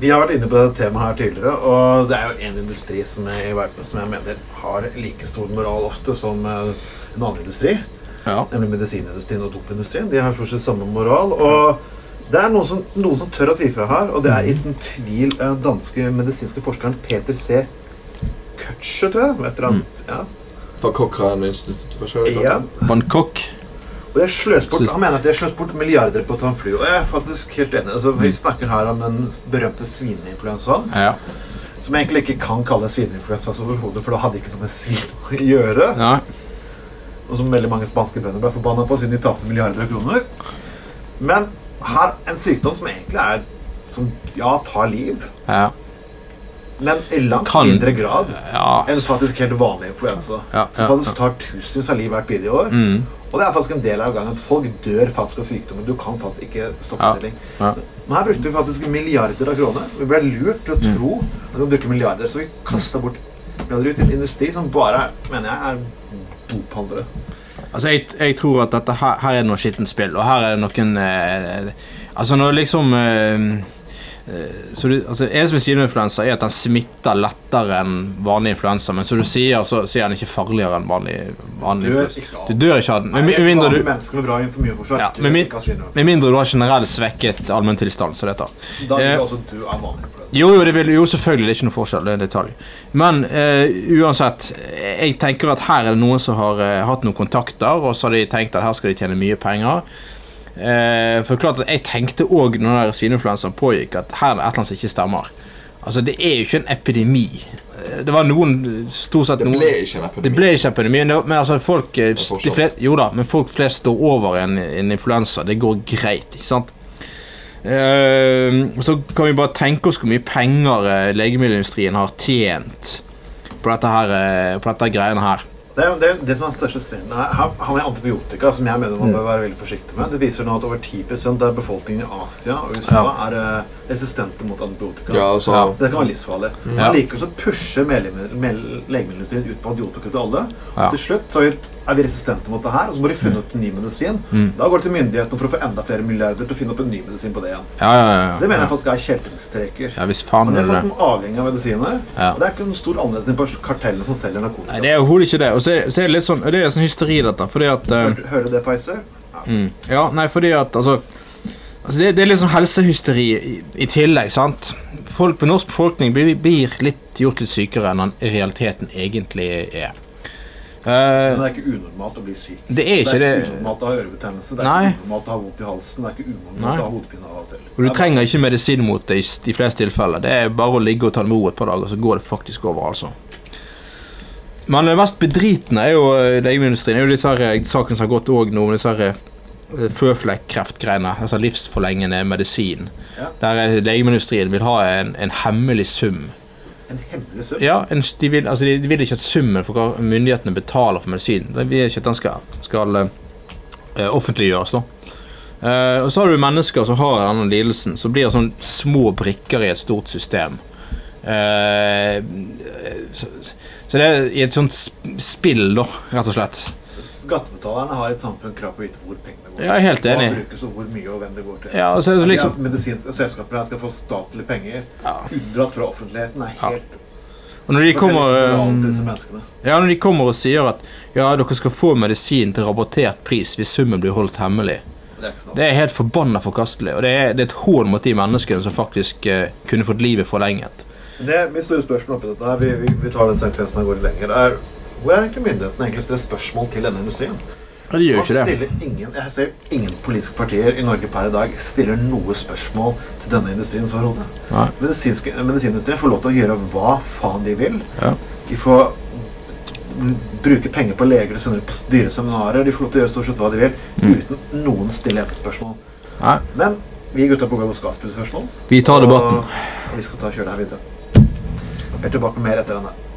Vi har vært inne på dette temaet her tidligere, og det er jo en industri som jeg, i verden som jeg mener har like stor moral ofte som eh, en annen industri, Ja. nemlig medisinindustrien og dopindustrien. De har stort sett samme moral. og det er noen som, noen som tør å si fra her, og det er uten tvil eh, danske medisinske forskeren Peter C. Kutche, tror jeg. Vet dere han? Ja. Mm. Fra Cochrane-instituttet. Hva skjer det? ja. Bangkok. Og det er sløst bort, Han mener at det er sløst bort milliarder på å ta en fly. Og jeg er faktisk helt enig. Altså, Mm. vi snakker her om den berømte svineinfluensaen, Ja. som jeg egentlig ikke kan kalle svineinfluensa overhodet, for det hadde ikke noe med svin å gjøre. ja. Og som veldig mange spanske bønder ble forbanna på, siden de tapte milliarder av kroner. Men her en sykdom som egentlig er som ja, tar liv, ja. men i langt Kan- mindre grad ja. enn faktisk helt vanlig influensa. Ja, ja, som faktisk tar tusenvis av liv hvert bidige år. Mm. Og det er faktisk en del av gangen at folk dør faktisk av sykdommer. Du kan faktisk ikke stoppe Ja, det lenger. ja. Men her brukte vi faktisk milliarder av kroner. Vi ble lurt til å tro Mm. at vi brukte milliarder, så vi kasta bort milliarder ut i en industri som bare mener jeg, er dophandlere. Altså, jeg, jeg tror at dette her, her er det noe skittent spill, og her er det noen eh, Altså, når liksom eh, eh, så du, altså, En som er svineinfluensa, er at den smitter lettere enn vanlig influensa, men som du sier, så, så er den ikke farligere enn vanlig, vanlig Dør influensa. ikke av. Du dør ikke av den, med, Nei, mi- mindre vanlige du mennesker med bra informasjon. Ja, men min- med mindre du har generell svekket allmenntilstand. som det heter. Da vil eh, du også dø av vanlig influensa. Jo, jo, det vil, jo, selvfølgelig. Det er ikke noe forskjell. Det er en detalj. Men eh, uansett, jeg tenker at her er det noen som har eh, hatt noen kontakter, og så har de tenkt at her skal de tjene mye penger. Eh, for klart at Jeg tenkte òg når den der svineinfluensaen pågikk, at her er det et eller annet som ikke stemmer. Altså, Det er jo ikke en epidemi. Eh, Det var noen Stort sett Det noen ble ikke en epidemi. det ble ikke epidemi, men det- men altså folk, eh, er de fortsatt. flest, jo da, men folk flest står over en, en influensa. Det går greit, ikke sant? Eh, så kan vi bare tenke oss hvor mye penger eh, legemiddelindustrien har tjent på dette her, eh, på dette greiene her. Det, er jo- det, er jo det som er den største svindelen, er her har vi antibiotika, som jeg mener man bør være veldig forsiktig med. Det viser nå at over 10 av befolkningen i Asia og USA Ja. er eh, resistente mot antibiotika. Ja, altså, Ja. Mm. Det kan være livsfarlig. Men Ja. likevel så pusher medlem- mel- legemiddelindustrien ut på antibiotika til alle. Ja. Og til slutt så er vi- er vi resistente mot det her, og så må de finne opp en ny medisin. Mm. Da går det til myndighetene for å få enda flere milliarder til å finne opp en ny medisin på det igjen. Ja, ja, Det ja. mener jeg faktisk er kjeltingstreker. Ja visst faen Men er det er snakk det det. om avhengig av medisiner. Ja. Og det er ikke noen stor annerledes enn på kartellene som selger narkotika. Nei, det er overhodet ikke det. Og så er, så er det litt sånn, det er sånn hysteri, dette. fordi at... eh, Hør- Hører du det, Pfizer? Mm. Ja, nei, fordi at altså, altså det, det er litt sånn helsehysteri i, i tillegg, sant? Folk på norsk befolkning blir, blir litt, gjort litt sykere enn han i realiteten egentlig er. Men Eh, det er ikke unormalt å bli syk. det er ikke det unormalt å ha ørebetennelse, det er Nei. ikke unormalt å ha vondt i halsen, det er ikke unormalt å Nei. ha hodepine av og til. Og du trenger ikke medisin mot det i s- de fleste tilfeller. Det er bare å ligge og ta det med ro et par dager, så går det faktisk over, altså. Men det mest bedritne er jo eh, legemiddelindustrien. Det er jo disse her, eh, saken som har gått òg nå, om disse her, eh, føflekkreftgreiene. Altså livsforlengende medisin. Ja. Der eh, legemiddelindustrien vil ha en, en hemmelig sum. En hemmelig sum. Ja, en, de, vil, altså de, de vil ikke at summen for hva myndighetene betaler for medisinen, de vil ikke at den skal, skal eh, offentliggjøres. da. Eh, og så har du mennesker som har denne lidelsen, som blir sånn små brikker i et stort system. Eh, så, så det er i et sånt sp- spill, da, rett og slett. Skattebetalerne har i et samfunn krav på å vite hvor pengene går. Jeg er helt enig. Hva brukes og hvor mye og hvem det går til. Ja, og så er det Det liksom... at medisinske selskaper her skal få statlige penger Ja. unndratt fra offentligheten, er Ja. helt Og når de kommer forteller ikke noe annet til eh, disse menneskene. Ja, når de kommer og sier at ja, dere skal få medisin til rabattert pris hvis summen blir holdt hemmelig. Det er ikke sant. Det er helt forbanna forkastelig, og det er, det er et hån mot de menneskene som faktisk eh, kunne fått livet forlenget. Det er mitt store spørsmål oppi dette her, vi, vi, vi tar den sekvensen av gårde lenger, er hvor er egentlig myndighetene egentlig stiller spørsmål til denne industrien? Ja, de gjør Man jo ikke det. stiller ingen, jeg ser ingen politiske partier i Norge per i dag stiller noe spørsmål til denne industrien. som rolle. Nei. Medisinske- Medisinindustrien får lov til å gjøre hva faen de vil. Ja. De får bruke penger på leger og sender på dyre seminarer. De får lov til å gjøre stort sett hva de vil Mm. uten noen stillhetsspørsmål. Nei. Men vi gutta på Gallo skal spille spørsmål. Vi tar debatten. Og vi skal ta og kjøre det her videre. Vi er tilbake med mer etter denne.